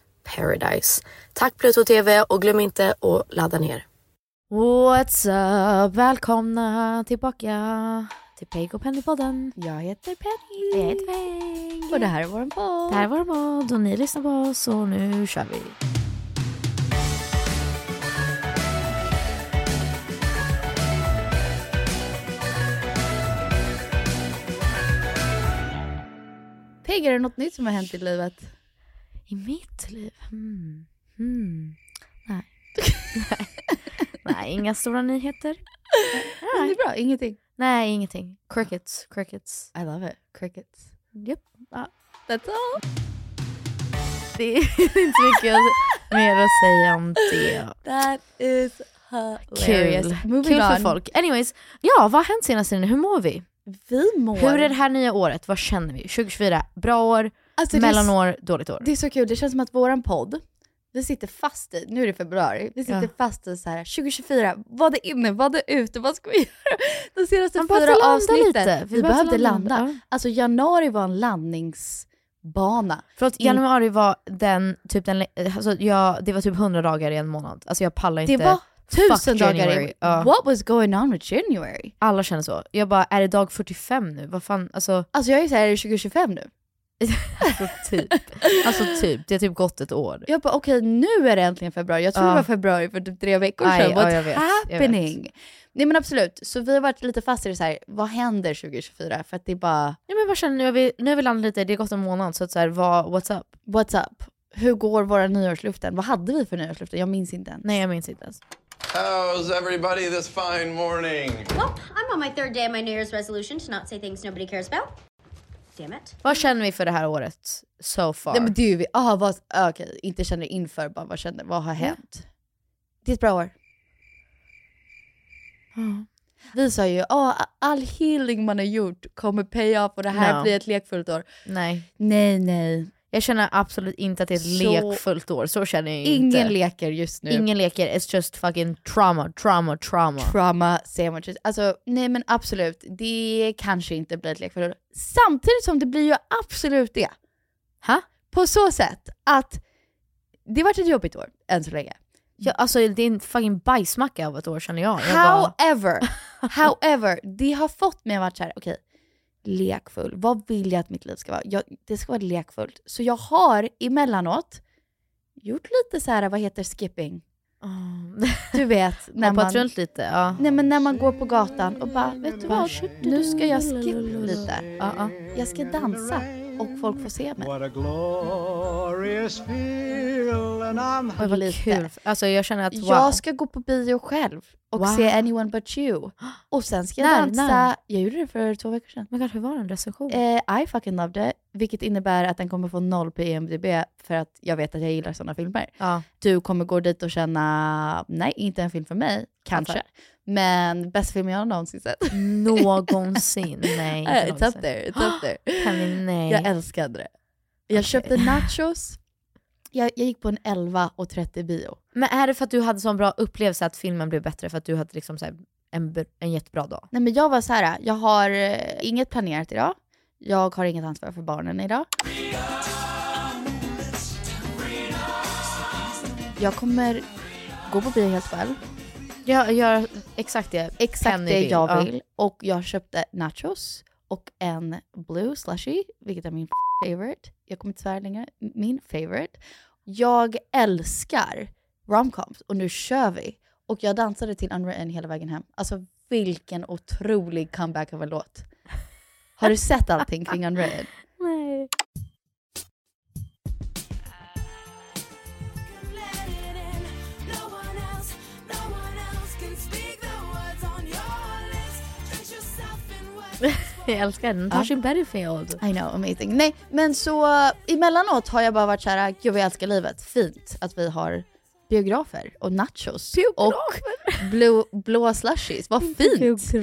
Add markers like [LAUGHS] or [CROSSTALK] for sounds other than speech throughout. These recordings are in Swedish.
paradise. Tack Pluto TV och glöm inte att ladda ner. What's up? Välkomna tillbaka till Peg och Penny-podden. Jag heter Penny. Jag heter Peg. Och det här är vår podd. Det här är vår podd och ni lyssnar på oss och nu kör vi. Peg, är det något nytt som har hänt i livet? I mitt liv? Mm. Hmm. Hmm. Nej. [LAUGHS] Nej, inga stora nyheter. Men Det är bra, ingenting. Nej, ingenting. Crickets, crickets. I love it. Crickets. Yep. Ja. That's all. Det är [LAUGHS] inte mycket att- mer att säga om det. That is Kul. Moving Kul för on. folk. Anyways, ja vad har hänt senaste tiden? Hur mår vi? Vi mår... Hur är det här nya året? Vad känner vi? 2024, bra år, Alltså, det är så- mellanår, dåligt år. Det är så kul, det känns som att våran podd, vi sitter fast i, nu är det februari, vi sitter Ja. fast i så här 2024, vad är inne, vad är ute, vad ska vi [LAUGHS] göra? De senaste Man behövde fyra landa avsnitten, lite. vi, Vi behövde behövde landa. landa. Alltså januari var en landningsbana. Förlåt, januari var den, typ den, alltså jag, det var typ 100 dagar i en månad. Alltså jag pallar inte. Det var tusen fuck dagar January. i, Ja. what was going on with January? Alla känner så. Jag bara, är det dag 45 nu? Vad fan, [LAUGHS] alltså, Alltså jag är såhär, är det 2025 nu? alltså typ. Alltså typ, det har typ gått ett år. Jag bara okej nu är det äntligen februari, jag tror Ja. det var februari för typ tre veckor Aj, sedan. ja, What's jag vet, jag vet. happening? Nej men absolut, så vi har varit lite fast i det så här. vad händer 2024? För att det är bara Nej men vad känner ni? nu har vi, nu har vi landat lite, det har gått en månad så att så här, vad, what's up? What's up? Hur går våra nyårsluften? Vad hade vi för nyårsluften? Jag minns inte ens. Nej jag minns inte ens. How's everybody this fine morning? Well, I'm on my third day of my New Year's resolution to not say things nobody cares about. Damn it. Vad känner vi för det här året so far? Nej men det är ju vi, ah, vad, ah, okej, inte känner inför, bara vad känner, vad har hänt? Det är ett bra år. Ja. Vi sa ju, ah, all healing man har gjort kommer pay off och det här Ja. blir ett lekfullt år. Nej. Nej nej, Jag känner absolut inte att det är ett Så- lekfullt år, så känner jag ingen inte. leker just nu. Ingen leker, it's just fucking trauma, trauma, trauma. trauma sandwiches. Alltså nej men absolut, det kanske inte blir ett lekfullt år. Samtidigt som det blir ju absolut det. Ha? På så sätt att det har varit ett jobbigt år än så länge. Ja, alltså det är en fucking bajsmacka av ett år känner jag. jag bara, [LAUGHS] However, however, det har fått mig att vara så här, okej, lekfull. Vad vill jag att mitt liv ska vara? Jag, det ska vara lekfullt. Så jag har emellanåt gjort lite så här, vad heter skipping? Du vet, [LAUGHS] när hoppat man... runt lite. Ja. Nej men när man går på gatan och bara, vet du vad? Nu ska jag skippa lite. Ja, ja. Jag ska dansa och folk får se mig. What a glorious feel, and I'm Oj, Vad vad lite. kul. Alltså jag känner att wow. Jag ska gå på bio själv och Wow. se Anyone But You. Och sen ska jag När, dansa. när? Jag gjorde det för två veckor sedan. Men gud, Oh hur var den recension? Eh, I fucking loved it, vilket innebär att den kommer få noll på IMDB för att jag vet att jag gillar sådana filmer. ja. Du kommer gå dit och känna, nej, inte en film för mig, kanske. Fattar. Men bästa film jag någonsin sett. [LAUGHS] Någonsin. Nej, [LAUGHS] inte Eh, It's up någonsin. there, it's up there. Kan vi, nej. Jag älskade det. Jag [GASPS] Okej. köpte nachos. Jag, jag gick på en 11.30 bio. Men är det för att du hade sån bra upplevelse att filmen blev bättre för att du hade liksom så här en, b- en jättebra dag? Nej men jag var så här, jag har eh, inget planerat idag. Jag har inget ansvar för barnen idag. Jag kommer gå på bio helt själv. Jag gör exakt det. Exakt Penny det vill, jag ja. vill. Och jag köpte nachos och en blue slushy, vilket är min f- favorite. Jag kommer inte svära längre. M- Min favorite. Jag älskar romcoms och nu kör vi. Och jag dansade till Unwritten hela vägen hem. Alltså vilken otrolig comeback av en låt. Har du sett allting kring Unwritten? Nej. [LAUGHS] Jag älskar den. Den tar Ja. sin Bergfield. I know, amazing. Nej, men så eh, emellanåt har jag bara varit så här, gud vad jag älskar livet. Fint att vi har biografer och nachos. Och blå, blå slushies. Vad fint!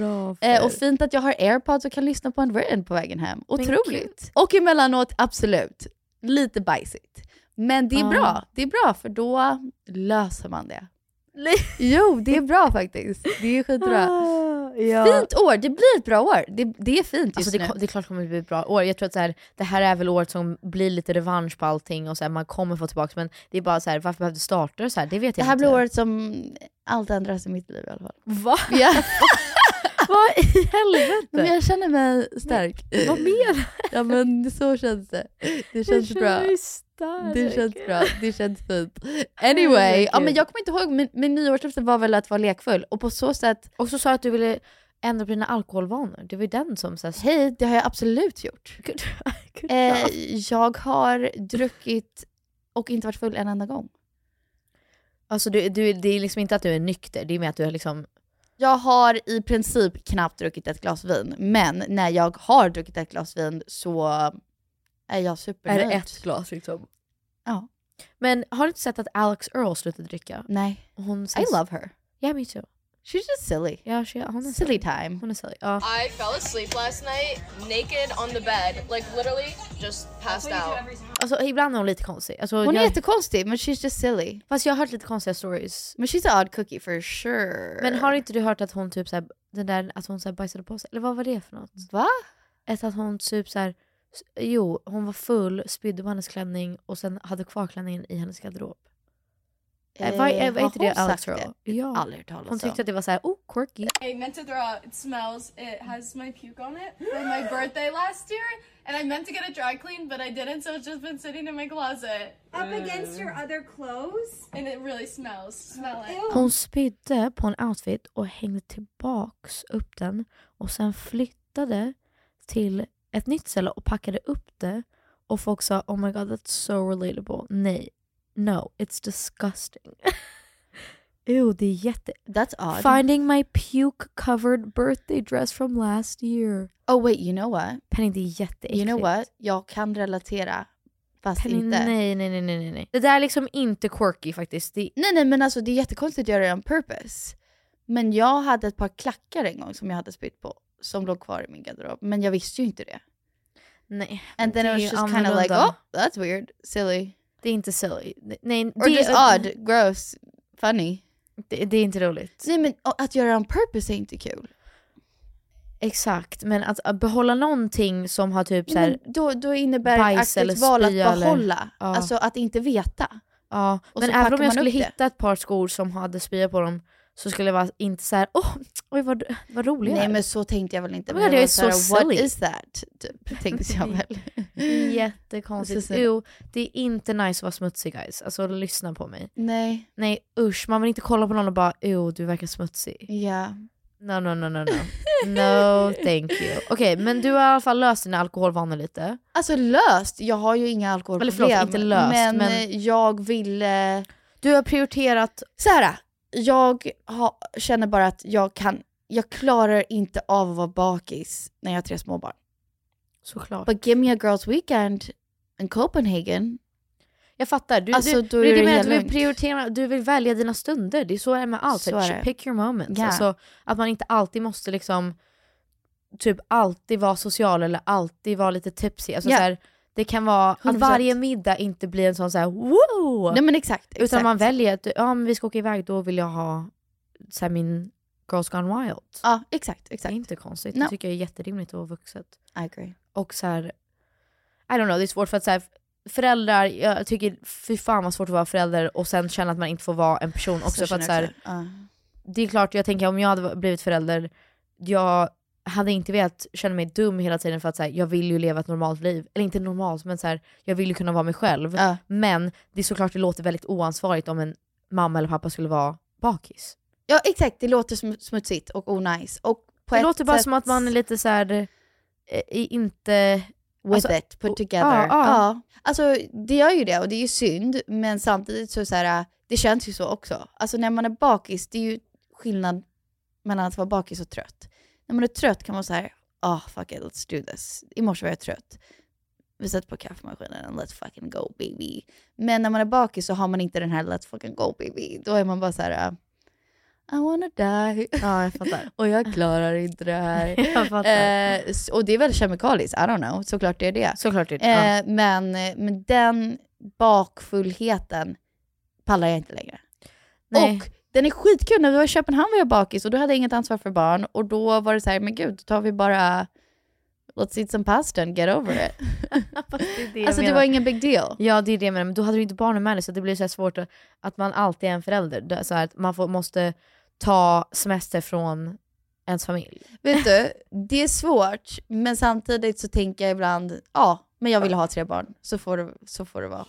Eh, och fint att jag har airpods och kan lyssna på en Unwritten på vägen hem. Otroligt! Och emellanåt, absolut, lite bajsigt. Men det är Ja. bra, det är bra för då löser man det. jo, det är bra faktiskt. Det är skitbra. Fint år, det blir ett bra år. Det, det är fint just Ah, Alltså det, nu. ko- det är klart det kommer bli ett bra år. Jag tror att så här, det här är väl året som blir lite revansch på allting och så här, man kommer få tillbaka men det är bara så här, varför behövde starta det så här? Det vet Det jag här inte. blir året som allt ändras i mitt liv i alla fall. Va? [LAUGHS] Ja. Vad i helvete? Men jag känner mig stark. Vad menar [LAUGHS] Ja men så känns det. Det känns bra. Stark. Det känns bra, det känns fint. Anyway, ja, men Herregud. jag kommer inte ihåg, min, min nyårslöfte var väl att vara lekfull och på så sätt, Och så sa du att du ville ändra på dina alkoholvanor. Det var ju den som så här, hej, det har jag absolut gjort. [LAUGHS] Gud, gud, Eh, jag har druckit och inte varit full en enda gång. Alltså du, du, det är liksom inte att du är nykter, det är mer att du är liksom... Jag har i princip knappt druckit ett glas vin, men när jag har druckit ett glas vin så är jag supernöjd. glas liksom? Ja. Men har du inte sett att Alex Earl slutade dricka? Nej. Hon I love her. Yeah me too. She's just silly. Ja, she, hon är Silly time. Hon är silly. Ja. I fell asleep last night naked on the bed, like literally just passed out. Alltså ibland är hon lite konstig. Alltså, Hon är jag, jättekonstig, men she's just silly. Fast jag har hört lite konstiga stories. Men she's an odd cookie for sure. Men har inte du hört att hon typ så här, den där, att hon så här bajsade på sig? Eller vad var det för något? Va? Ett att hon typ så här, s- jo hon var full, spydde på hennes klänning och sen hade kvar klänningen i hennes garderob. Eh, var, eh, var har inte det hon Alex sagt Earl? det? Ja. Aldrig hört talas Hon tyckte om. att det var så här, oh quirky. I meant to throw out. It smells. It has my puke on it from my birthday last year, and I meant to get it dry cleaned, but I didn't, so it's just been sitting in my closet. Up against your other clothes? And it really smells. Smell it. Hon spydde på en outfit och hängde tillbaks upp den och sen flyttade till ett nytt ställe och packade upp det och folk sa oh my god that's so relatable. Nej, no, it's disgusting. [LAUGHS] Ew, det är jätte... That's odd. Finding my puke covered birthday dress from last year. Oh wait, you know what? Penny, det är jätteäckligt. You know what? Jag kan relatera. Fast Penny, inte. nej, nej, nej, nej, nej, nej. Det där är liksom inte quirky faktiskt. Det... Nej, nej, men alltså det är jättekonstigt att göra det on purpose. Men jag hade ett par klackar en gång som jag hade spytt på, som låg kvar i min garderob. Men jag visste ju inte det. Nej. And then det I was är ju just kind of like, annorlunda. oh, that's weird, silly. Det är inte silly. Nej, Or just odd, gross, funny. Det, det är inte roligt. Nej men och att göra det on purpose är inte kul. Exakt, men att, att behålla någonting som har typ så Nej, här, men då, då innebär bajs eller aktivt val att spya eller- behålla. Ja. Alltså att inte veta. ja. och Men så även packar om jag man skulle upp det. hitta ett par skor som hade spya på dem så skulle jag vara inte så här, åh, oj vad, vad rolig jag Nej är." men så tänkte jag väl inte. Oh my Men God, jag var är så så här, what silly." is that? Typ, tänkte jag väl. Mm. Jättekonstigt. Så sen- Jo, det är inte nice att vara smutsig guys. Alltså lyssna på mig. Nej, Nej usch, man vill inte kolla på någon och bara jo du verkar smutsig. ja. No no no no no. No thank you. Okej men du har i alla fall löst dina alkoholvanor lite. Alltså löst, jag har ju inga Eller alkoholproblem. förlåt, inte löst, men, men- eh, jag ville... Du har prioriterat Så här, jag ha, känner bara att jag kan... Jag klarar inte av att vara bakis när jag har tre småbarn. såklart. But give me a girls weekend in Copenhagen. Jag fattar. Du, du, Alltså, då men är det det menar jag, helt du vill lugnt. prioritera, du vill välja dina stunder. Det är så det är med allt. Så är det. Pick your moments. Ja. Alltså, att man inte alltid måste liksom typ alltid vara social eller alltid vara lite tipsy. Alltså, Ja. så här, det kan vara att 100%. varje middag inte blir en sån så här wow! Nej men exakt. exakt. utan man väljer att ja, men vi ska åka iväg, då vill jag ha så här, min Girls Gone Wild. Ja, exakt. Det är exakt. inte konstigt. No. Det tycker jag är jätterimligt och vuxet. I agree. Och så här, I don't know, det är svårt för att så här, föräldrar, jag tycker fy fan vad svårt att vara förälder och sen känna att man inte får vara en person också. för att, så här, Ja. det är klart, jag tänker om jag hade blivit förälder, jag hade inte velat känna mig dum hela tiden för att så här, jag vill ju leva ett normalt liv. Eller inte normalt, men så här, jag vill ju kunna vara mig själv. Ja. Men det är såklart det låter väldigt oansvarigt om en mamma eller pappa skulle vara bakis. ja exakt, det låter sm- smutsigt och onajs. Och på det ett låter bara sätt- som att man är lite så här, eh, inte... with Alltså, it, put och- together. ja, ja. Ja. Alltså det gör ju det och det är ju synd, men samtidigt så, så här, det känns ju så också. Alltså när man är bakis, det är ju skillnad mellan att vara bakis och trött. När man är trött kan man säga ah fuck it, let's do this. I morse var jag trött. Vi sätter på kaffemaskinen and let's fucking go baby. Men när man är bakis så har man inte den här let's fucking go baby. Då är man bara så här, I wanna die. Ja, jag fattar. [LAUGHS] och jag klarar inte det här. [LAUGHS] Jag fattar. Eh, s- och det är väl kemikaliskt, I don't know, såklart det är det. Såklart det. Eh, ja. men, men den bakfullheten pallar jag inte längre. Nej. [LAUGHS] Och den är skitkul, när vi var i Köpenhamn var jag bakis och då hade jag inget ansvar för barn och då var det så här, men gud, då tar vi bara Let's eat some pasta and get over it. alltså det var ingen big deal. Ja det är det jag menar, men då hade du inte barnen med dig så det blir så här svårt att, att man alltid är en förälder. Det är Så här, att man får, måste ta semester från ens familj. Vet du, det är svårt, men samtidigt så tänker jag ibland, ja, men jag vill ha tre barn, så får det, så får det vara.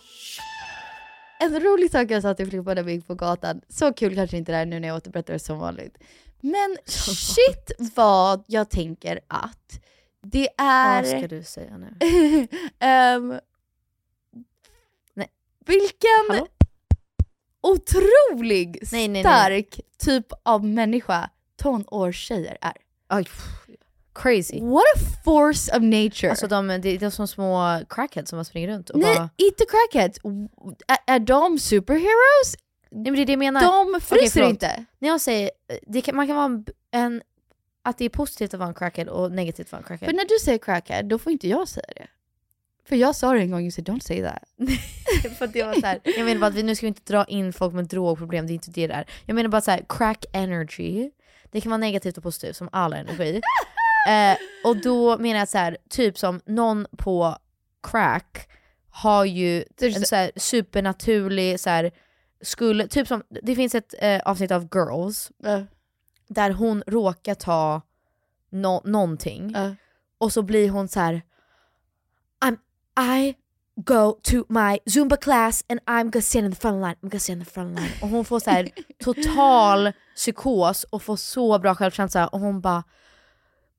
En rolig sak jag sa till Filippa när vi gick på gatan, så kul kanske inte det är nu när jag återberättar det som vanligt, [LAUGHS] men shit vad jag tänker att det Vad [LAUGHS] ska är... du säga nu? Ehm, Nej. Vilken Hallå? otrolig Nej, nej, nej. stark typ av människa tonårstjejer är. Aj, pff, crazy. What a force of nature. Alltså de, det är de som små crackheads som bara springer runt och Nej, bara... inte crackheads. W- Är, är de superheroes? Nej men det är det jag menar. De fryser förlåt. inte. När jag säger, det kan, man kan vara en, en... Att det är positivt att vara en crackhead och negativt att vara en För crackhead. när du säger crackhead, då får inte jag säga det. För jag sa det en gång, you said don't say that. [LAUGHS] Mm. För det var så här, [LAUGHS] jag menar bara att vi, nu ska vi inte dra in folk med drogproblem, det är inte det där. Jag menar bara så här, crack energy, det kan vara negativt och positivt som all [LAUGHS] energi. eh, och då menar jag så här, typ som någon på crack har ju en Typ så här supernaturlig så här, skulle, typ som, det finns ett eh, avsnitt av Girls Ja. där hon råkar ta no- någonting Ja. och så blir hon så här. I'm, I go to my zumba class and I'm gonna stand in the front line, I'm gonna stand in the front line. Och hon får så [LAUGHS] här total psykos och får så bra självkänsla och hon bara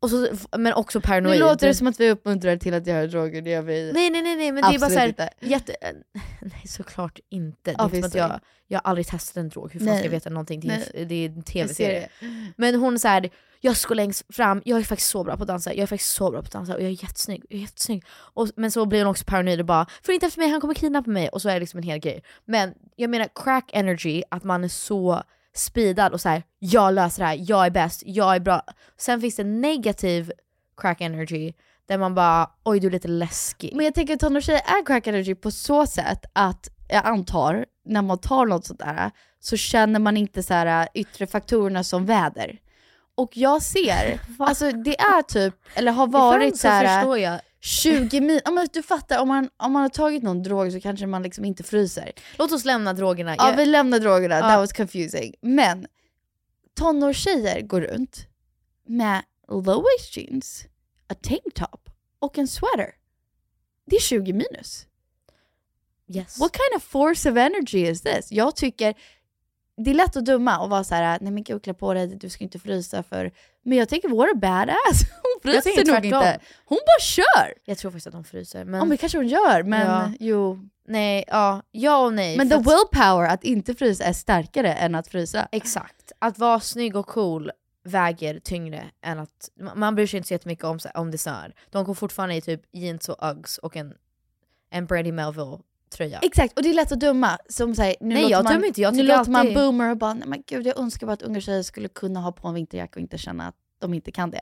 Och så, men också paranoid. Nu låter det som att vi uppmuntrar till att göra droger, det gör vi Nej nej nej, nej men det är bara Absolut såhär, inte. jätte... eh, [LAUGHS] Nej såklart inte. Det är Ja, inte som att visst är det. jag, jag har aldrig testat en drog, hur fan Nej. ska jag veta någonting? Det är, ju- Nej. det är en Jag ser tv-serie. Men hon såhär, jag ska längst fram, jag är faktiskt så bra på att dansa, jag är faktiskt så bra på att dansa och jag är jättesnygg, jag är jättesnygg. Och, men så blir hon också paranoid och bara, för inte efter mig, han kommer kidnappa mig. Och så är det liksom en hel grej. Men jag menar crack energy, att man är så speedad och så här: jag löser det här, jag är bäst, jag är bra. Sen finns det negativ crack energy, där man bara, oj du är lite läskig. Men jag tänker att tonårstjejer är crack energy på så sätt att jag antar, när man tar något sånt där, så känner man inte så här äh, yttre faktorerna som väder. Och jag ser, [LAUGHS] alltså det är typ, eller har varit så här... äh, förstår jag. 20 mil, ja, men du fattar om man, om man har tagit någon drog så kanske man liksom inte fryser. Låt oss lämna drogerna. Ja Jag- vi lämnar drogerna, Ja. that was confusing. Men tonårstjejer går runt med low-waist jeans, a tank top och en sweater. Det är 20 minus. Yes. What kind of force of energy is this? Jag tycker, det är lätt att döma och vara så här, nej men gud klä på dig, du ska inte frysa för... Men jag tänker vår badass, [LAUGHS] hon Jag tänker fryser nog tvärtom. inte. Hon bara kör! Jag tror faktiskt att de fryser. Ja Men... men det kanske hon gör, men Ja. jo. Nej, ja. ja och nej. Men för the att- willpower att inte frysa är starkare än att frysa. Exakt. Att vara snygg och cool väger tyngre än att... ma- Man bryr sig inte så jättemycket om, så- om det snör. De går fortfarande i typ jeans och Uggs och en, en Brady Melville-tröja. Exakt, och det är lätt att döma. Som så här, nu Nej, låter jag man, dömer inte, jag nu tycker låter man alltid- boomer och bara, nej men gud jag önskar bara att unga tjejer skulle kunna ha på en vinterjacka och inte känna att de inte kan [LAUGHS] det.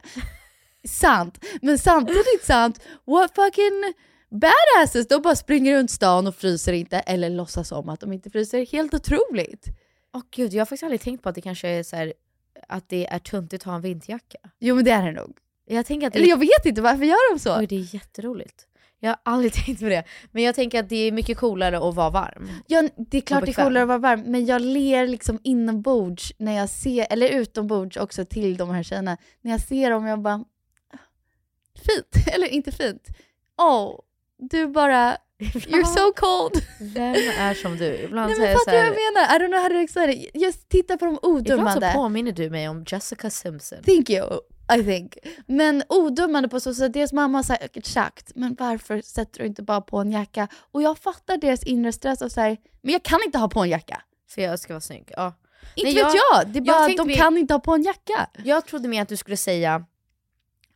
sant, men samtidigt sant, what fucking badasses, de bara springer runt stan och fryser inte, eller låtsas om att de inte fryser. Helt otroligt. Åh gud, jag har faktiskt aldrig tänkt på att det kanske är så här, att det är tuntigt att ha en vinterjacka. Jo men det är det nog. Jag tänker att det, Eller jag vet inte, varför gör de så? Oj, det är jätteroligt. Jag har aldrig [LAUGHS] tänkt på det. Men jag tänker att det är mycket coolare att vara [LAUGHS] varm. Ja, det är klart det är Obekväm. coolare att vara varm, men jag ler liksom inombords när jag ser, eller utombords också till de här tjejerna. När jag ser dem jag bara, "Ah, fint, [LAUGHS] eller inte fint. Oh, du bara, you're so cold. Vem är som du? [LAUGHS] Ibland Nej så är men jag så fattar du vad här, jag menar? I don't know how to explain it. Just titta på de Ibland så odömande. påminner du mig om Jessica Simpson. Thank you, I think. Men odömande på så sätt, deras mamma har säkert sagt, men varför sätter du inte bara på en jacka? Och jag fattar deras inre stress av så här, men jag kan inte ha på en jacka. För jag ska vara snygg. Ja. Inte Nej, vet jag, det är bara att tänkte de vi- kan inte ha på en jacka. Jag trodde mer att du skulle säga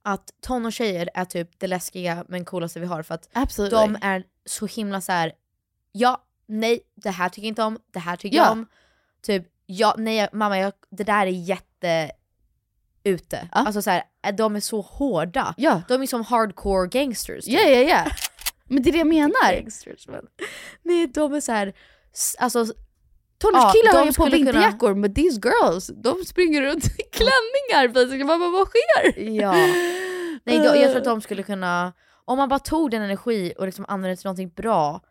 att tonårstjejer är typ det läskiga men coolaste vi har för att Absolutely. de är så himla så här. ja, nej, det här tycker jag inte om, det här tycker Ja. jag om. Typ, ja, nej jag- mamma, jag, det där är jätte ute. Alltså så här, de är så hårda. Ja. De är som hardcore gangsters. typ. Ja, ja, ja. Men det är det jag menar. Gangsters, men. Nej, de är så här, s- alltså Ja, Tonårskillar de har ju på skulle kunna- vinterjackor, men these girls, de springer runt i klänningar basically. Man bara, vad sker? [LAUGHS] Ja. Nej, då, jag tror Eh. att de skulle kunna, om man bara tog den energi och liksom använde det till någonting bra,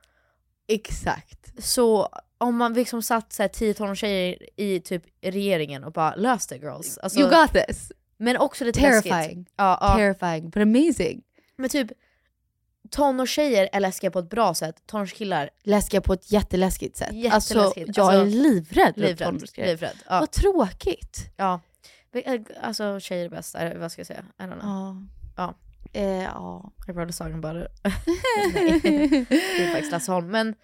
Exakt. så om man liksom satt så här 10 tonårstjejer i typ regeringen och bara lös det girls. Alltså, you got this. men också lite Terrifying. läskigt. Ja, ja. Terrifying, but amazing. men typ tonårstjejer är läskiga på ett bra sätt, tonårskillar Läskiga på ett jätteläskigt sätt. Alltså, Jätteläskigt. jag är Alltså, livrädd. runt livrädd. tonårsgrejer. livrädd ja. Vad tråkigt. ja. Alltså tjejer är bäst, eller vad ska jag säga? I don't know. Ja. Ja. Eh, ja. I'd rather song about [LAUGHS] it. nej, det är faktiskt Lasse Holm. Men,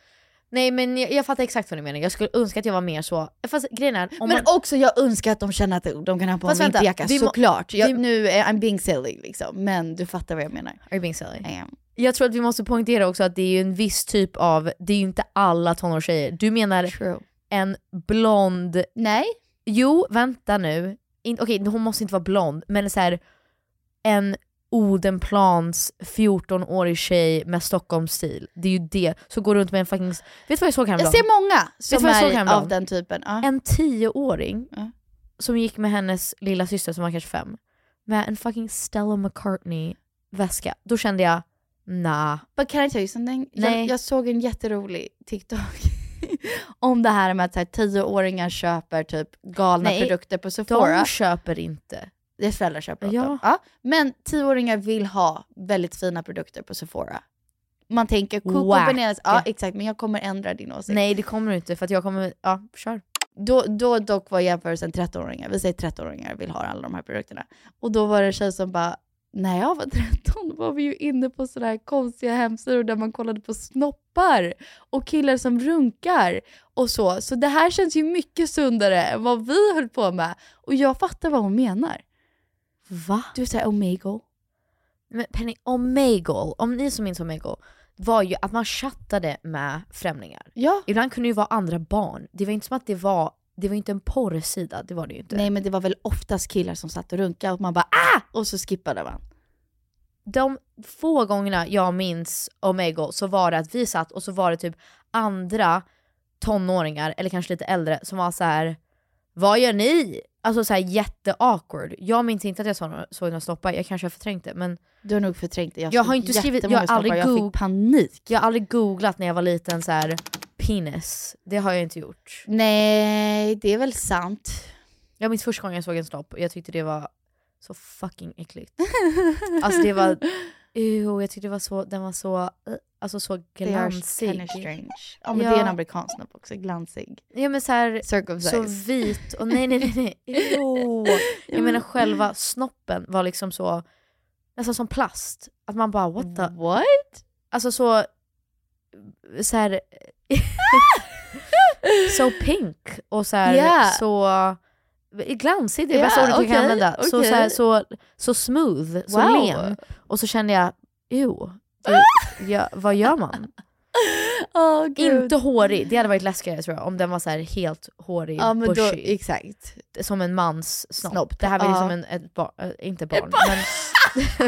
nej, men jag, jag fattar exakt vad du menar. Jag skulle önska att jag var mer så. Fast grejen är, om men man, också jag önskar att de känner att de kan ha på Fast en vänta, vinterjacka, vi må- såklart. Jag, vi- nu är I'm being silly liksom, men du fattar vad jag menar. are you being silly? I am. Jag tror att vi måste poängtera också att det är ju en viss typ av, det är ju inte alla tonårstjejer. Du menar True. en blond, Nej, jo vänta nu, In, okej hon måste inte vara blond, men så här, en Odenplans 14-årig tjej med Stockholmsstil. Det är ju det. Så går runt med en fucking... Vet du vad jag såg jag häromdagen? ser många som vad jag såg är häromdagen? av den typen. Ja. en tioåring Ja. som gick med hennes lilla syster som var kanske fem med en fucking Stella McCartney väska. Då kände jag, nah. But can I tell you something? Nej. Jag, jag såg en jätterolig TikTok [LAUGHS] om det här med att så här, tioåringar köper typ galna Nej, produkter på De Sephora. köper inte. Deras föräldrar köper åt Ja. dem. Ja. Men tioåringar vill ha väldigt fina produkter på Sephora. Man tänker Coco Whack. Bananas, ja exakt men jag kommer ändra din åsikt. Nej det kommer du inte för att jag kommer, ja kör. Då, då dock var jämförelsen 13-åringar. Vi säger 13-åringar vill ha alla de här produkterna. Och då var det en tjej som bara, när jag var 13 var vi ju inne på sådana här konstiga hemsidor där man kollade på snoppar och killar som runkar och så. Så det här känns ju mycket sundare än vad vi höll på med. Och jag fattar vad hon menar. Va? Du säger Omegle. Men Penny, Omegle, om ni som minns Omegle, var ju att man chattade med främlingar. Ja. Ibland kunde det ju vara andra barn. Det var inte som att det var, det var inte en porrsida, det var det ju inte. Nej men det var väl oftast killar som satt och runkade och man bara ah! Och så skippade man. de få gångerna jag minns Omegle så var det att vi satt och så var det typ andra tonåringar, eller kanske lite äldre, som var så här. vad gör ni? Alltså så här jätteawkward. Jag minns inte att jag såg, några- såg några snoppar, jag kanske har förträngt det men Du har nog förträngt det. Jag, Jag har såg inte skrivit- jag jättemånga har aldrig snoppar. Jag goog- fick panik. jag har aldrig googlat när jag var liten så här penis. Det har jag inte gjort. Nej, det är väl [LAUGHS] sant. Jag minns första gången jag såg en snopp och jag tyckte det var så fucking äckligt. Alltså [LAUGHS] det var, ew, jag tyckte det var så, den var så, eh, alltså så They are glansig. kinda strange. Ja men det är en amerikansk snopp också, glansig. Ja men så här, Circumcised. så vit och nej nej nej. nej. Jo. [LAUGHS] Jag menar själva snoppen var liksom så, nästan som plast. Att man bara what the... What? Alltså så, så här, [LAUGHS] så pink och så här, Yeah. så eh, glansig, det är Yeah, bästa ordet jag kan okej, använda. Så, okej. så, här, så, så smooth, så Wow. len. Och så kände jag, jo, det, ja, vad gör man? [LAUGHS] [LAUGHS] Åh, gud. Inte hårig, det hade varit läskigare tror jag om den var så här helt hårig, Ja men då, bushy. exakt. som en mans snopp. Snopp, Det här var ju ja. som en, ett barn, äh, inte barn,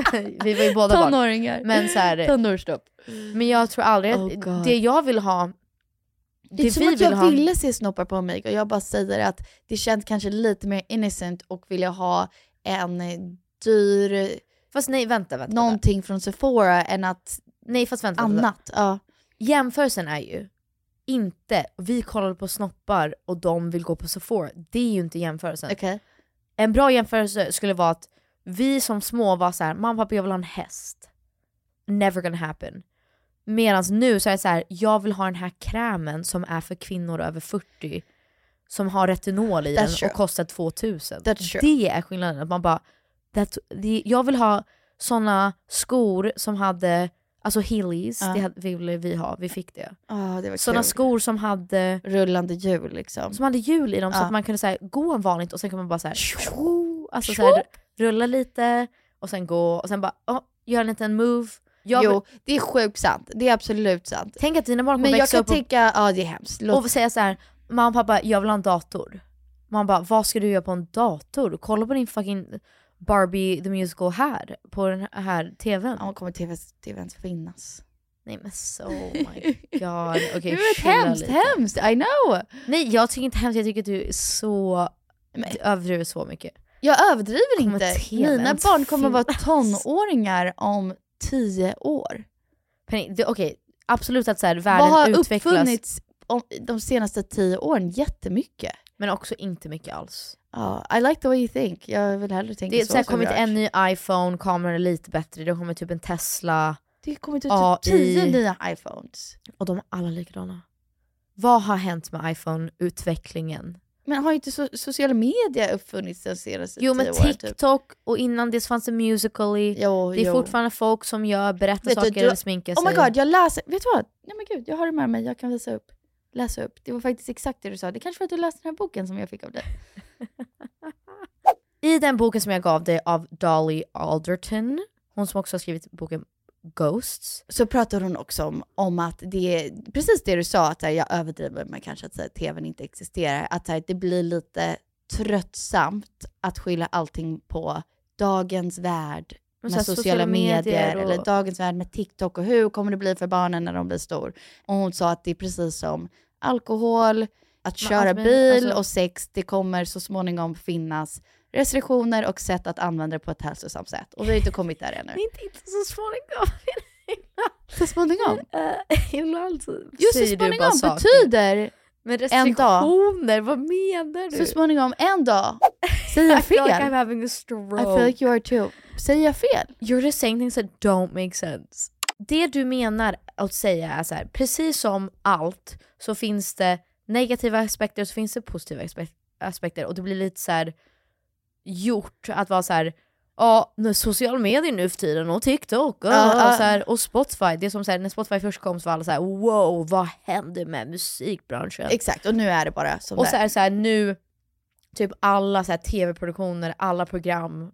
[LAUGHS] men vi var ju båda barn. Tonåringar. Men så här- Tonårsstopp. Men jag tror aldrig att, Oh God. det jag vill ha, Det är det som vi att jag vill ha, ville se snoppar på mig och jag bara säger att det känns kanske lite mer innocent och vilja ha en dyr fast nej vänta vänta. vänta. någonting från Sephora än att Nej fast vänta, vänta, vänta. annat. Ja. Jämförelsen är ju inte, vi kollade på snoppar och de vill gå på Sephora. Det är ju inte jämförelsen. Okej. En bra jämförelse skulle vara att vi som små var så här: mamma pappa jag vill ha en häst. Never gonna happen. Medan nu så är det så här, jag vill ha den här krämen som är för kvinnor över 40. Som har retinol i That's den true. och kostar 2000. That's true. Det är skillnaden. Att man bara, that, det, jag vill ha såna skor som hade, alltså hillies, Ja. det hade, ville vi ha, vi fick det. Ja, Ah, det var Såna kul. skor som hade, Rullande hjul liksom. som hade hjul i dem så Ja. att man kunde så här, gå vanligt och sen kunde man bara så här, Alltså så här, rulla lite och sen gå och sen bara oh, gör en liten move. Jag, jo, det är sjukt sant. Det är absolut sant. Tänk att dina barn kommer Men jag växa kan upp och, tänka, ja det är hemskt. Låt, och säga så här: mamma och pappa jag vill ha en dator. Man bara vad ska du göra på en dator? Kolla på din fucking Barbie the Musical här på den här tvn. ja, kommer TV, TV ens finnas? Nej men so my [LAUGHS] god. Okej det är chilla hemskt, lite. hemskt, I know! Nej jag tycker inte hemskt, jag tycker att du är så, Men- du överdriver så mycket. Jag överdriver Kommer inte. TV Mina ens barn kommer vara finnas? tonåringar om tio år. Penny, det- Okej absolut att så här, Vad världen har utvecklas uppfunnits om, de senaste tio åren? Jättemycket. men också inte mycket alls. Ja, I like the way you think. Jag vill hellre tänka Det så. så har som kommit jag. en ny iPhone, kameran är lite bättre, det har kommit typ en Tesla Det har kommit ut AI. typ tio nya iPhones. och de är alla likadana. Vad har hänt med iPhone-utvecklingen? Men har inte so sociala medier uppfunnits de senaste Jo Typ tio men åren? Typ? TikTok och innan det fanns det Musical.ly. Jo, Det är jo. fortfarande folk som gör, berättar Vet du, saker du- eller sminkar Oh sig. my god, jag läser. Vet du vad? Nej men gud, jag har det med mig. Jag kan visa upp. Läsa upp. Det var faktiskt exakt det du sa. Det kanske var att du läste den här boken som jag fick av dig. I den boken som jag gav dig av Dolly Alderton, hon som också har skrivit boken Ghosts. så pratar hon också om, om att det är precis det du sa, att så här, jag överdriver med kanske att säga att tvn inte existerar, att så här, det blir lite tröttsamt att skylla allting på dagens värld Men med så här, sociala, medier, eller dagens värld med TikTok och hur kommer det bli för barnen när de blir stor? Och hon sa att det är precis som alkohol, att Men köra allt med- bil alltså- och sex, det kommer så småningom finnas restriktioner och sätt att använda det på ett hälsosamt sätt. Och vi har [LAUGHS] inte kommit där ännu. Inte, inte så [LAUGHS] småningom. Så småningom. Eh, Ibland så Jo, så säger du bara småningom saker. betyder Men en dag. restriktioner, vad menar du? så småningom en dag. [LAUGHS] Säger jag I feel like I'm fel? having a I stroke. Alltså, feel like you are too. Säger jag fel? You're just saying things that don't make sense. Det du menar att säga är så här, precis som allt så finns det negativa aspekter och så finns det positiva aspe- aspekter. Och det blir lite så här gjort att vara så här. Ja, nu- sociala medier nu för tiden och TikTok och, Ja, ja. och, så här, och Spotify. Det är som så här, när Spotify först kom så var alla så här: wow, vad hände med musikbranschen? Exakt, och nu är det bara som och det så är det så här, nu, typ alla så här, tv-produktioner, alla program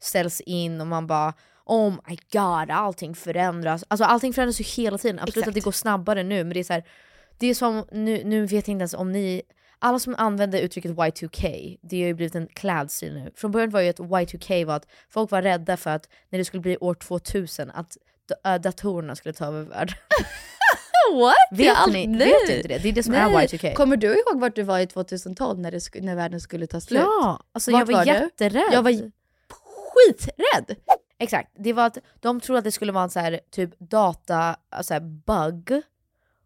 ställs in och man bara Oh my god, allting förändras. Alltså allting förändras ju hela tiden. Absolut Exakt. att det går snabbare nu men det är så här, det är som, nu, nu vet jag inte ens om ni, alla som använder uttrycket Y2K, det har ju blivit en klädstil nu. Från början var ju att Y2K var att folk var rädda för att när det skulle bli år 2000 att d- äh, datorerna skulle ta över världen. What? Vet Jag har ni- aldrig- nej. vet du inte det? Det är det som är Nej. Y2K. Kommer du ihåg vart du var i 2012 när, det sk- när världen skulle [LAUGHS] ta slut? Ja, alltså jag var du? jätterädd. Jag var j- skiträdd! Exakt, det var att de trodde att det skulle vara en så här, typ data, alltså här, bug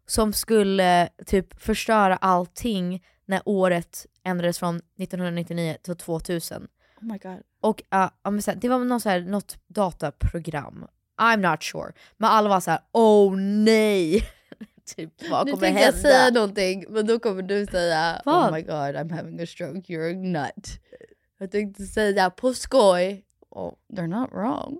som skulle typ förstöra allting när året ändrades från 1999 till 2000. Oh my god. Och uh, ja, men så här, det var någon så här, något dataprogram, I'm not sure, men alla var så här: oh nej! [LAUGHS] typ vad nu kommer tänkte jag säga hända? någonting, men då kommer du säga Vad? Oh my god, I'm having a stroke, you're a nut. Jag tänkte säga på skoj, oh, they're not wrong.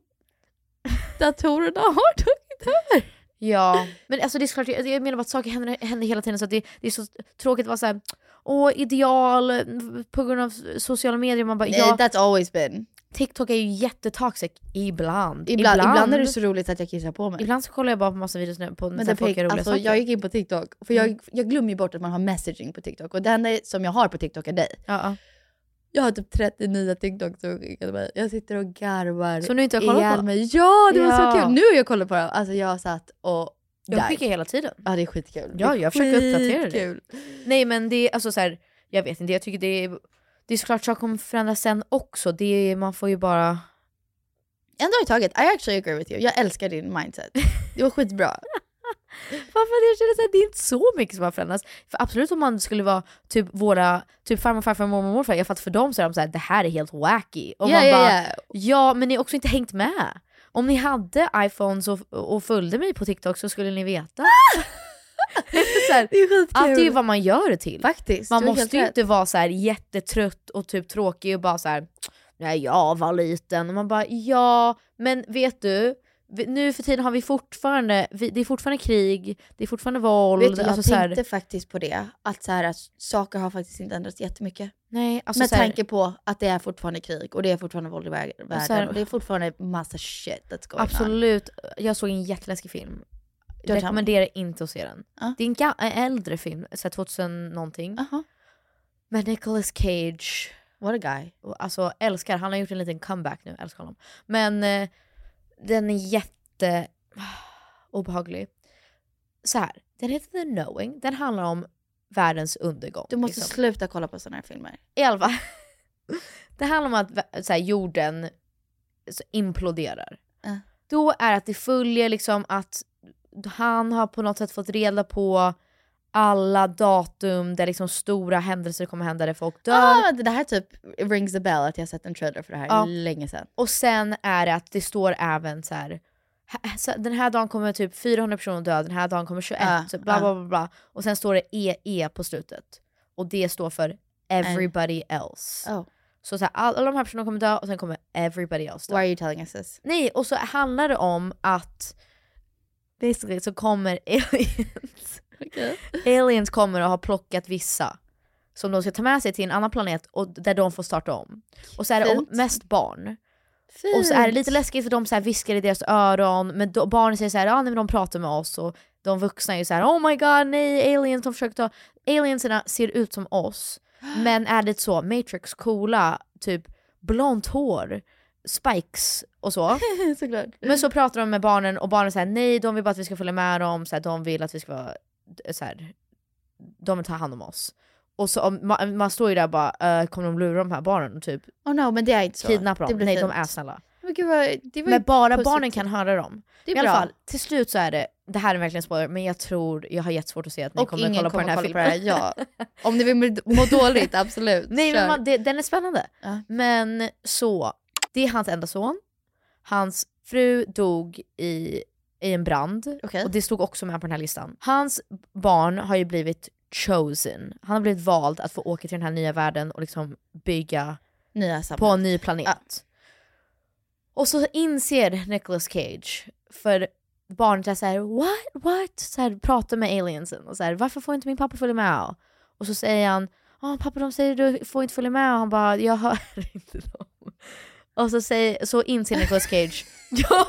Datorerna har tagit över. Ja, men alltså det är såklart, jag jag menar bara att saker händer, händer hela tiden så att det, det är så tråkigt att vara såhär, åh ideal på grund av sociala medier, man bara Nej, ja, Eh, That's always been. TikTok är ju jättetoxic ibland. Ibland, ibland. är det så roligt att jag kissar på mig. Ibland så kollar jag bara på massa videos nu på så Men här den folk fick, gör roliga alltså, saker. Mm. jag gick in på TikTok, för jag, jag glömmer ju bort att man har messaging på TikTok. Och det enda som jag har på TikTok är dig. Ja, Jag har typ 39 TikTok som skickade mig. Jag sitter och garvar Som du inte har kollat ihjäl på? mig. Ja, det var så Ja. kul. Nu har jag kollat på dem. Alltså jag satt och ja. jag där. skickar hela tiden. Ja, det är skitkul. Ja, Det är jag försöker uppdatera det. skitkul. Nej men det är alltså så här, jag vet inte, jag tycker det är, det är såklart saker kommer förändras sen också. Det är, man får ju bara... En dag i taget. I actually agree with you. Jag älskar din mindset. Det var skitbra. Varför jag känner så här, det är inte så mycket som har förändrats. För absolut om man skulle vara typ våra, typ farmor, farfar, mormor, morfar. Jag fattar för dem så är de så här, det här är helt wacky. Och Ja, man ja, bara, ja. ja men ni har också inte hängt med. Om ni hade iPhones och, och följde mig på TikTok så skulle ni veta. Ah! [LAUGHS] så här, [LAUGHS] Det är skitkul. Allt är ju vad man gör det till. Faktiskt. Man du har måste ju helt inte vara så här jättetrött och typ tråkig och bara så här. när jag var liten. Och man bara ja, men vet du, vi- nu för tiden har vi fortfarande, vi, det är fortfarande krig, det är fortfarande våld. Vet du, jag alltså så här, tänkte faktiskt på det, att, så här, att saker har faktiskt inte ändrats jättemycket. nej, alltså Med så här, tanke på att det är fortfarande krig och det är fortfarande våld i vär- världen här- och det är fortfarande massa shit that's going on. Absolut, jag såg en jätteläskig film. George Rekommenderar inte att se den. Ja. Det är en ga- en äldre film, så här 2000 någonting. Aha. Med Nicolas Cage. What a guy. Och, Alltså älskar, han har gjort en liten comeback nu, älskar honom. Men eh, den är jätte [SIGHS] obehaglig. Så här, den heter The Knowing, den handlar om världens undergång. Du måste liksom. sluta kolla på sådana här filmer. I alla fall. [LAUGHS] Det handlar om att vä- så här, jorden så imploderar. Ja. Då är att det följer liksom att han har på något sätt fått reda på alla datum där liksom stora händelser kommer hända där folk dör. Ah, det här typ rings a bell att jag har sett en trailer för det här Ja. länge sedan. Och sen är det att det står även så här. "Här- så- Den här dagen kommer typ 400 personer dö, den här dagen kommer 21, Ja, så bla, ja. bla bla bla. Och sen står det EE på slutet. Och det står för everybody else. Oh. Så, så här, all- alla de här personerna kommer dö och sen kommer everybody else Why dö. are you telling us this? Nej, och så handlar det om att basically så kommer [LAUGHS] aliens. [LAUGHS] aliens kommer och har plockat vissa som de ska ta med sig till en annan planet och där de får starta om. Och så är det Fint. mest barn. Fint. Och så är det lite läskigt för de så här viskar i deras öron, men då, barnen säger så här, ja nej, men de pratar med oss och de vuxna är ju så här, oh my god nej aliens, de försöker ta, alienserna ser ut som oss, men är det så matrix coola, typ blont hår, spikes och så. Såklart. Men så pratar de med barnen och barnen säger nej, de vill bara att vi ska följa med dem, så här, de vill att vi ska vara så här, de vill ta hand om oss. Och så, om- man, man står ju där och bara, "Eh, kommer de lura de här barnen? Och Typ Oh no, men det är inte så. kidnappa Det dem? blir Nej, de fint. är snälla. Men, gud, vad, det var ju Men bara positivt. barnen kan höra dem. Det är I alla bra. fall, till slut så är det, det här är verkligen spoiler, men jag tror, jag har jättesvårt att se att ni Och kommer ingen kolla på kommer den här kolla på det filmen. här. Ja. [LAUGHS] Om ni vill må dåligt, absolut. Nej Kör. men man, det, den är spännande. Ja. Men så, det är hans enda son. Hans fru dog i, i en brand Okej. och det stod också med på den här listan. Hans barn har ju blivit chosen. Han har blivit vald att få åka till den här nya världen och liksom bygga Nya på samhället. en ny planet. Och så inser Nicolas Cage, för barnet är såhär what, what? Så här, pratar med aliensen och så här, varför får inte min pappa följa med? Och så säger han, "Ja, pappa de säger du får inte följa med och han bara jag hör [LAUGHS] inte dem. Och så, säger, så inser Nicolas Cage, [LAUGHS] ja.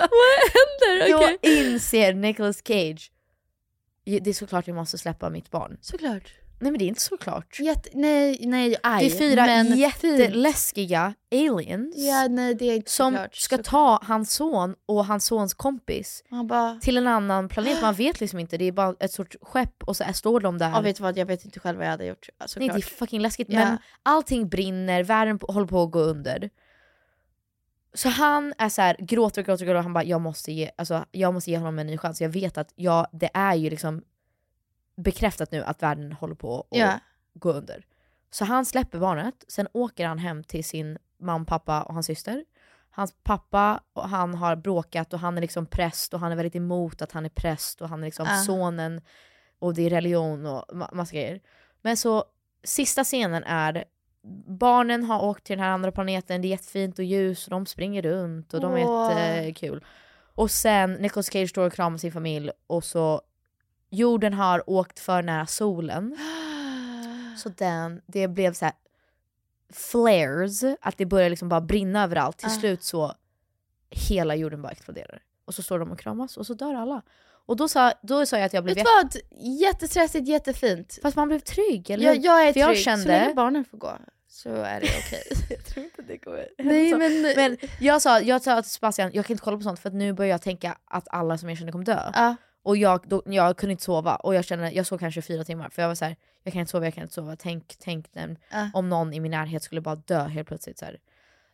Vad händer? Då inser Nicolas Cage, det är såklart jag måste släppa mitt barn. Såklart. Nej men det är inte såklart. Jätte, nej, nej, aj. Det är fyra men jätteläskiga aliens fint. Ja, nej det är inte som såklart. ska ta hans son och hans sons kompis Man bara, till en annan planet. Man vet liksom inte, det är bara ett sorts skepp och så här står de där. ja, vet du vad, jag vet inte själv vad jag hade gjort. Ja, Nej, Såklart. det är fucking läskigt. Ja. Men allting brinner, världen på- håller på att gå under. Så han är så här, gråter och gråter och gråter. Han bara, jag måste, ge, alltså, jag måste ge honom en ny chans. Jag vet att jag, det är ju liksom bekräftat nu att världen håller på att Ja. gå under. Så han släpper barnet, sen åker han hem till sin mamma, pappa och hans syster. Hans pappa och han har bråkat och han är liksom präst och han är väldigt emot att han är präst och han är liksom Ah. sonen och det är religion och ma- massa grejer. Men så sista scenen är barnen har åkt till den här andra planeten, det är jättefint och ljus och de springer runt och de är Åh. jättekul. Och sen Nicolas Cage står och kramar sin familj och så jorden har åkt för nära solen. Så den, det blev så här flares, att det börjar liksom bara brinna överallt. Till Ah. slut så hela jorden bara exploderar. Och så står de och kramas och så dör alla. Och då sa, då sa jag att jag blev Vet du jätte... vad, jättestressigt, jättefint. Fast man blev trygg, eller Jag, hur? jag är För trygg, jag så kände- länge barnen får gå så är det [LAUGHS] okej. Jag tror inte det kommer nej men, Men jag sa, jag sa till Sebastian, jag kan inte kolla på sånt för att nu börjar jag tänka att alla som jag känner kommer dö. ja, Och jag, då, jag kunde inte sova och jag kände, jag sov kanske fyra timmar för jag var så här, jag kan inte sova, jag kan inte sova, tänk, tänk den, ja. om någon i min närhet skulle bara dö helt plötsligt. Så här.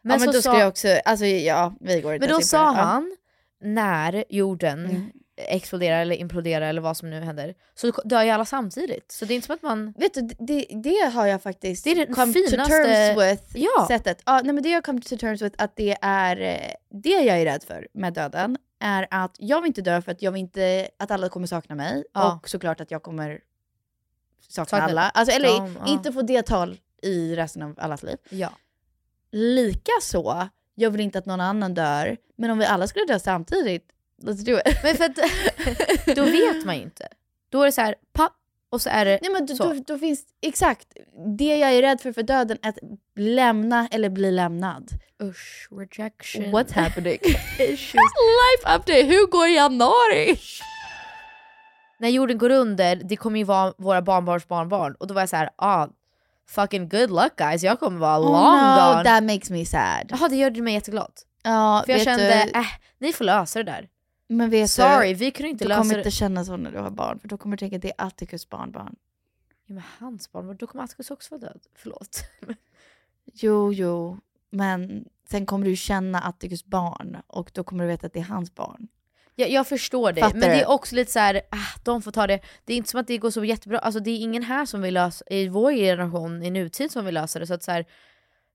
Men, ja, men så då sa- skulle jag också, alltså ja vi går inte men då ens in sa på det. Ja. Mm. han, när jorden exploderar eller imploderar eller vad som nu händer, så dör ju alla samtidigt. Så det är inte som att man... Vet du, det, det har jag faktiskt Det är den come to finaste- terms with. Ja! Sättet. Ja, nej, men det har jag kommit to terms with att det är eh, det jag är rädd för med döden är att jag vill inte dö för att jag vill inte att alla kommer sakna mig Ja. och såklart att jag kommer sakna Sakna alla. Alltså, eller dem, ja. inte få det tal i resten av allas liv. Ja. [LAUGHS] Likaså, jag vill inte att någon annan dör, men om vi alla skulle dö samtidigt, let's do [LAUGHS] it. Men för att då vet man ju inte. Då är det så här, papp, och så är det Nej [LAUGHS] men då, så. då, då finns, exakt, det jag är rädd för för döden är att lämna eller bli lämnad. Usch, rejection. [LAUGHS] What's happening? Issues. [LAUGHS] Life update, hur går januari? När jorden går under, det kommer ju vara våra barnbarns barnbarn. Och då var jag så här, ah, fucking good luck guys, jag kommer vara Oh long no, gone. that makes me sad. Jaha, det gjorde mig jätteglad. Ja, För jag vet kände, du, äh, ni får lösa det där. men vet Sorry, du, vi kunde inte du lösa kommer det. inte känna så när du har barn, för då kommer du tänka att det är Atticus barnbarn. Ja, men hans barnbarn, då kommer Atticus också vara död. Förlåt. Jo, jo, men sen kommer du känna Atticus barn och då kommer du veta att det är hans barn. Jag, jag förstår dig, Fattar men det du? är också lite så här, ah, de får ta det. Det är inte som att det går så jättebra, alltså det är ingen här som vill lösa, i vår generation, i nutid som vill lösa det. Så att så här,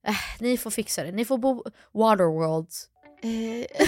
eh, ni får fixa det. Ni får bo Waterworld. Eh,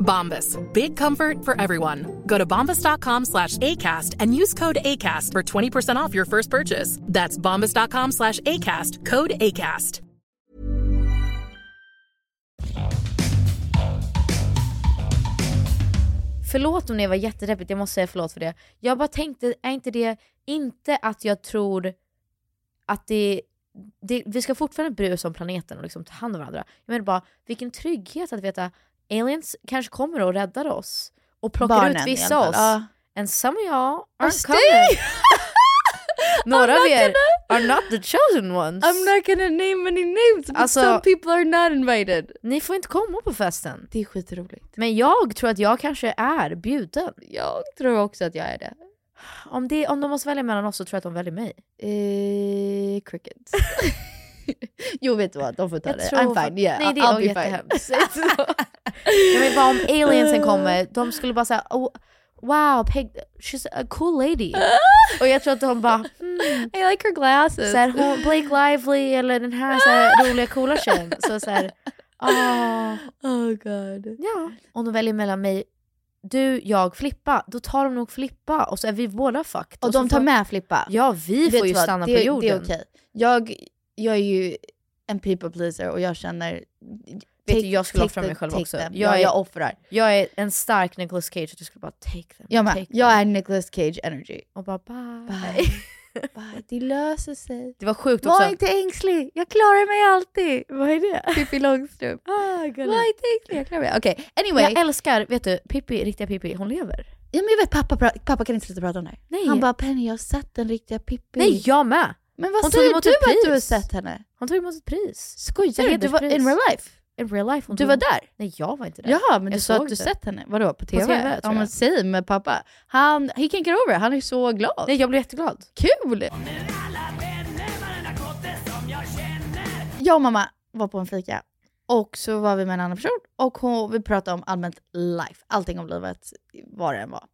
Bombas. Big comfort for everyone. Go to bombas.com slash ACAST and use code ACAST for 20% off your first purchase. That's bombas.com slash ACAST. Code ACAST. Förlåt om det var jättedeppigt, jag måste säga förlåt för det. Jag bara tänkte, är inte det, inte att jag tror att det, det vi ska fortfarande bry oss om planeten och liksom ta hand om varandra. Jag menar bara, vilken trygghet att veta, aliens kanske kommer och räddar oss. Och plockar Barnen ut i vissa alla av fall, oss. ja. And some of y'all are stay! coming. [LAUGHS] Några av not er gonna- are not the chosen ones. I'm not gonna name any names but Alltså- some people are not invited. Ni får inte komma på festen. Mm. Det är skitroligt. Men jag tror att jag kanske är bjuden. Jag tror också att jag är det. Om, det, om de måste välja mellan oss så tror jag att de väljer mig. Eh, [LAUGHS] crickets. jo vet du vad, de får ta Jag det. tror- I'm fine, yeah. Nej, det I'll var be jättehemskt. fine. [LAUGHS] Jag vill bara om aliensen kommer, de skulle bara säga oh, Wow, Peg, she's a cool [LAUGHS] lady. Och jag tror att de bara hmm. I like her glasses. Så här, hon, Blake Lively eller den här, så här roliga coola tjejen. Så så här, ah. [LAUGHS] Oh god. Ja, om de väljer mellan mig, du, jag, Flippa, då tar de nog Flippa och så är vi båda fucked. Och så de tar får- med Flippa. Ja, vi Vet får ju du vad? stanna det, på Det är jorden. okej. Jag, jag är ju en people pleaser och jag känner... Vet take- du, jag skulle take offra mig them, själv take också. them. Jag Ja, är- jag offrar. Jag är en stark Nicolas Cage, att jag skulle bara take them. Jag med. take Jag är Nicolas Cage energy. Och bara bye. Bye. Bye. Det löser sig. [LAUGHS] Det var sjukt också. Var inte ängslig, jag klarar mig alltid. Vad är det? Pippi Långstrump. [LAUGHS] Ah, Var inte ängslig, jag klarar mig. Okej, anyway. Jag älskar, vet du, Pippi, riktiga Pippi, hon lever. Ja, men jag vet, pappa, pra- pappa kan inte sluta prata om det här. Nej. Han bara “Penny, jag har sett den riktiga Pippi”. Nej, jag med! Men vad Hon tog säger du emot att ett pris. du har sett henne? Hon tog emot ett pris. Skojar du? Du var in real life? In real life. hon Du tog var emot- där? Nej, jag var inte där. Jaha, men du Jag sa såg att du det. sett henne. Vadå, på TV? TV, tror ja, men jag. säg med pappa. Han, he can get over it. Han är så glad. Nej, jag blev jätteglad. Kul! Jag och mamma var på en fika och så var vi med en annan person och hon, vi pratade om allmänt life, allting om livet, vad det än var.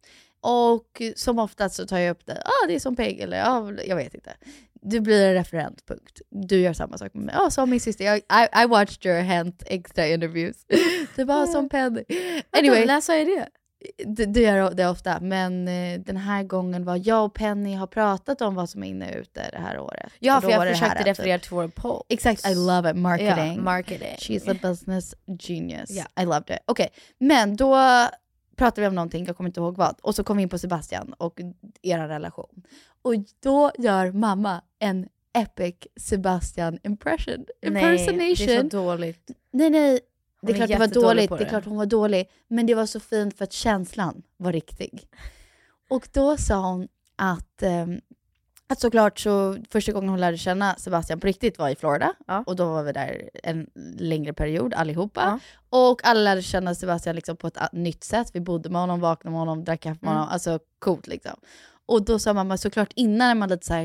Och som oftast så tar jag upp det, ah, det är som Peg eller ah, jag vet inte. Du blir en referent, punkt. Du gör samma sak med mig. Ah, som min syster, jag, I, [LAUGHS] I watched your hand extra interviews. Du bara, ah, som Penny. Anyway, när sa jag det? du, du gör det ofta, men eh, den här gången var jag och Penny har pratat om vad som är inne och ute det här året. Ja, Och för då var jag det försökte här, referera typ. till vår poll. Exakt, I love it. Marketing. Ja, marketing. She's a business genius. Ja. I loved it. Okej, men då pratade vi om någonting, jag kommer inte ihåg vad. Och så kom vi in på Sebastian och er relation. Och då gör mamma en epic Sebastian impression. Impersonation. Nej, det är så [LAUGHS] dåligt. Nej, nej. Hon Det är är klart det var jättedålig dåligt, på det är det. klart hon var dålig. Men det var så fint för att känslan var riktig. Och då sa hon att, ehm, att såklart så första gången hon lärde känna Sebastian på riktigt var i Florida. Och då var vi där en längre period allihopa. Och alla lärde känna Sebastian liksom på ett a- nytt sätt. Vi bodde med honom, vaknade med honom, drack Mm. kaffe med honom. Alltså coolt liksom. Och då sa mamma såklart innan är man lite såhär,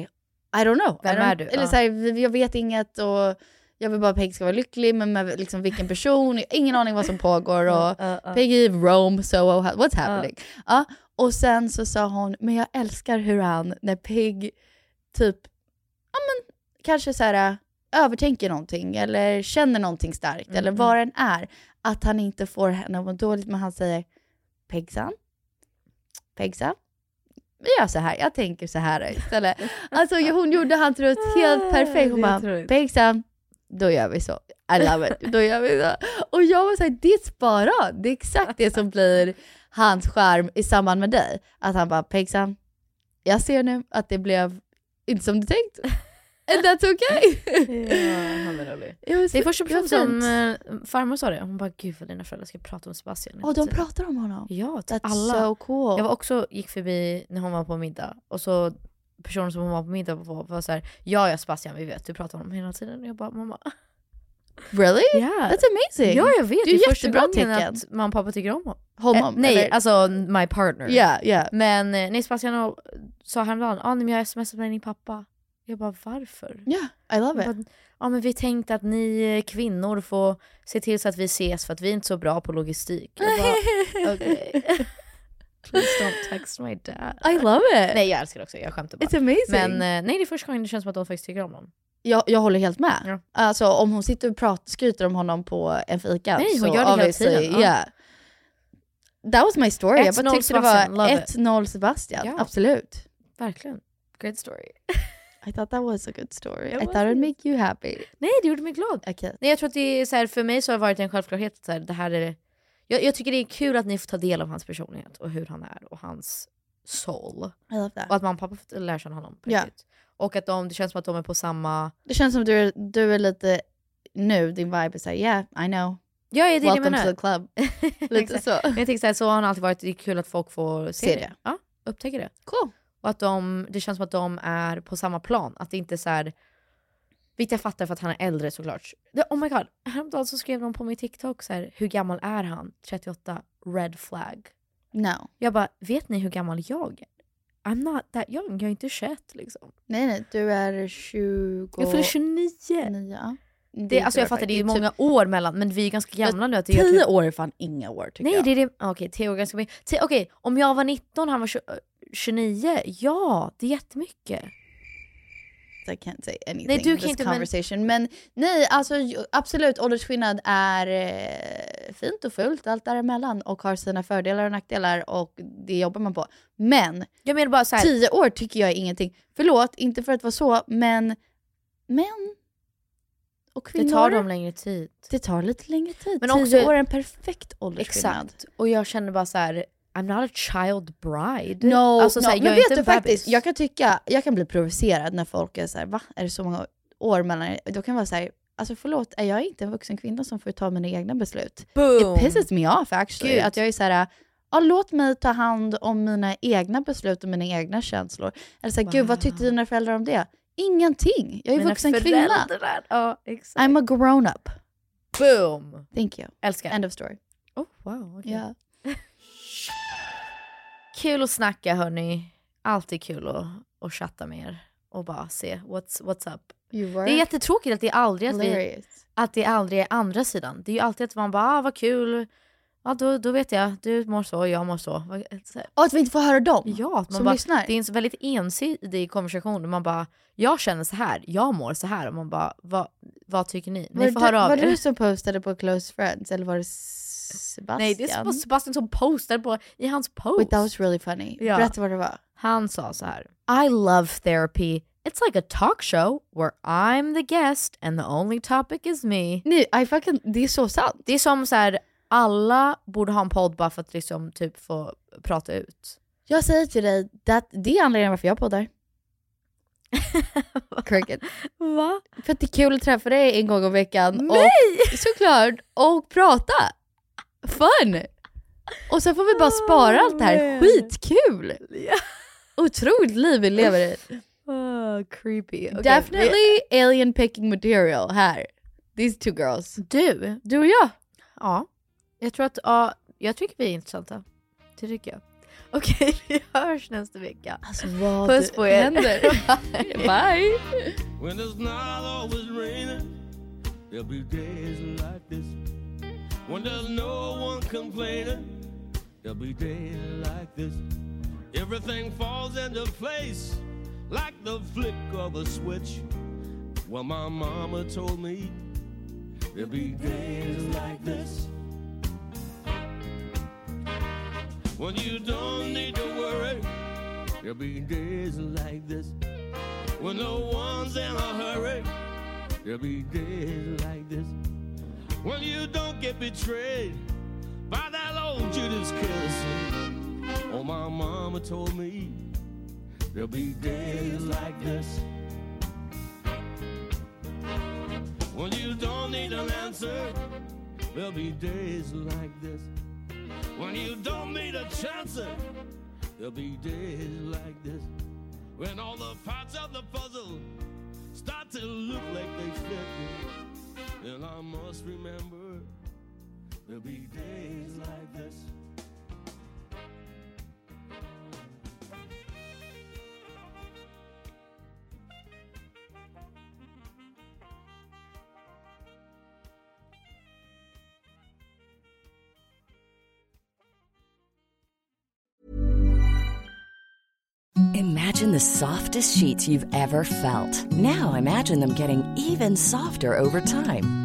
I don't know. Vem I don't, är du? Eller Ja. så här, "Vi- jag vet inget och jag vill bara att Peg ska vara lycklig, men med liksom vilken person, ingen aning vad som pågår. Och [LAUGHS] Ja, ja. Peg i Rome, Soho, what's happening? Ja. Ja, och sen så sa hon, men jag älskar hur han, när Peg typ, ja men kanske så här äh, övertänker någonting eller Mm, känner någonting starkt eller vad den är, att han inte får henne att må dåligt, men han säger Pegsan, Pegsan, vi gör så här, jag tänker så här [LAUGHS] istället. Alltså hon gjorde hans röst helt perfekt. Hon Det är bara, otroligt. Pegsan, då gör vi så. I love it. Då gör vi så. Och jag var såhär, det är ett spara. Det är exakt det som blir hans skärm i samband med dig. Att han bara, Pegsan, jag ser nu att det blev inte som du tänkt. And that's okay. Han är rolig. Ja, men Det är så- första ja, personen som fint. eh, farmor sa det. Hon bara, gud vad dina föräldrar ska prata om Sebastian. Åh, de Så- pratar om honom. Ja, till That's eh, alla. so cool. Jag var också, gick förbi när hon var på middag och så personen som hon var på middag på var så här, ja ja Sebastian vi vet, du pratar om honom hela tiden. Och jag bara, [LAUGHS] mamma. Really? Yeah. That's amazing. Ja jag vet, Det är det är första jättebra gången tecken. att mamma och pappa tycker om Honom, Eh, nej, eller? alltså my partner. Ja, ja. Men eh, nej, Sebastian och- sa häromdagen, ah, nej, men jag smsade med din pappa. Jag bara varför? Ja, I love [LAUGHS] it. Ja men vi tänkte att ni eh, kvinnor får se till så att vi ses för att vi är inte så bra på logistik. Jag bara, okej. [LAUGHS] Please don't text my dad. I love it. Nej jag älskar det också, jag skämtar bara. It's amazing. Men eh, nej det är första gången det känns som att de faktiskt tycker om honom. Jag, jag håller helt med. Alltså om hon sitter och pratar, skryter om honom på en fika Nej, hon så gör det hela obviously, tiden, ja. yeah. That was my story. Jag 1-0 bara tyckte det Sebastian, var love it. 1-0 Sebastian. Ja. Absolut. Verkligen. Great story. I thought that was a good story. It I thought it'd make you happy. Nej det gjorde mig glad. Okay. Nej, jag tror att det är så här, för mig så har det varit en självklarhet att så här, det här är... Jag, jag tycker det är kul att ni får ta del av hans personlighet och hur han är och hans soul. I love that. Och att mamma och pappa får lära känna honom på Ja. riktigt. Och att de, det känns som att de är på samma... Det känns som att du, är- du är lite nu, din vibe är såhär yeah I know. Ja, det är det jag Welcome menar. to the club. lite Exakt. så. [LAUGHS] Men jag tänker så här, så har han alltid varit. Det är kul att folk får se Se det. det. Ja, upptäcker det. Cool. Och att de, det känns som att de är på samma plan. Att det inte är så här... Vilket jag fattar för att han är äldre såklart. Det- Oh my god, häromdagen så skrev någon på min TikTok så här, hur gammal är han? 38, red flag. No. Jag bara, vet ni hur gammal jag är? I'm not that young, jag är inte 21 liksom. Nej nej, du är 20... Jag fyller 29. Nio. typ Det, alltså jag fattar, det är ju många år mellan, men vi är ganska gamla nu. Att det Tio jag tror- år är fan inga år tycker Nej, jag. det är det. Okej, tio år är ganska mycket. Tio- Okej, om jag var 19 han var 20, 29. Ja, det är jättemycket. I can't say anything Nej, du in kan this inte, men- conversation. Men... nej, alltså ju- absolut åldersskillnad är eh, fint och fult, allt däremellan och har sina fördelar och nackdelar och det jobbar man på. Men, jag menar bara så här- tio år tycker jag är ingenting. Förlåt, inte för att vara så, men män och kvinnor. Det tar dem längre tid. Det tar lite längre tid. Men tio också- år är en perfekt åldersskillnad. Exakt. Och jag känner bara så här, I'm not a child bride. No, Alltså no. så här, jag men är vet inte du en bebis. faktiskt, jag kan tycka, jag kan bli provocerad när folk är så här, va? Är det så många år mellan er? Då kan jag vara så här, alltså förlåt, är jag inte en vuxen kvinna som får ta mina egna beslut? Boom. It pisses me off actually. Gud. Att jag är så här, ja, låt mig ta hand om mina egna beslut och mina egna känslor. Eller så här, gud vad tyckte dina föräldrar om det? Ingenting, jag är Mina vuxen kvinna. föräldrar, Ja, exakt. I'm a grown up. Boom! Thank you. Älskar. End of story. Oh, wow. okej. Ja. Kul att snacka hörni. Alltid kul att, att chatta med er och bara se what's, what's up. You Det är jättetråkigt att det aldrig, att vi, Hilarious. att det aldrig är andra sidan. Det är ju alltid att man bara, ah, vad kul, ja, då, då vet jag, du mår så, jag mår så. Vad- så här- Och att vi inte får höra dem Ja, att man som bara, lyssnar. det är en så väldigt ensidig konversation. där Man bara, jag känner så här, jag mår så här. Och man bara, vad, vad tycker ni? Var Ni det får du- höra av [LAUGHS] Var det er. du som postade på Close Friends eller var det Sebastian? Nej, det var Sebastian som postade på, i hans post. Wait, that was really funny. Ja. Berätta vad det var. Han sa så här. I love therapy. It's like a talk show where I'm the guest and the only topic is me. Nej, I fucking, det är så sant. Det är som så här, alla borde ha en podd bara för att liksom typ få prata ut. Jag säger till dig, that, det är anledningen varför jag poddar. Cricket. [LAUGHS] Va? För att det är kul att träffa dig en gång i [LAUGHS] veckan. Och, såklart! Och prata. Fun! Och sen får vi bara spara allt det Oh, här. Skitkul! Otroligt liv vi [LAUGHS] lever i. Oh, creepy. Definitely alien picking material här. These two girls. Du. Du och jag. Ja. Jag tror att, ja, jag tycker vi är intressanta. Det tycker jag. Okej, vi hörs nästa vecka. Alltså vad Puss på er. händer? [LAUGHS] Bye. When it's not always raining, there'll be days like this. When there's no one complaining, there'll be days like this. Everything falls into place like the flick of a switch. Well, my mama told me there'll be days like this. When you don't need to worry, there'll be days like this. When no one's in a hurry, there'll be days like this. When you don't get betrayed by that old Judas kiss. Oh, my mama told me there'll be days like this. When you don't need an answer, there'll be days like this. When you don't need a chance, there'll be days like this. When all the parts of the puzzle start to look like they fit, then I must remember there'll be days like this. Imagine the softest sheets you've ever felt. Now imagine them getting even softer over time.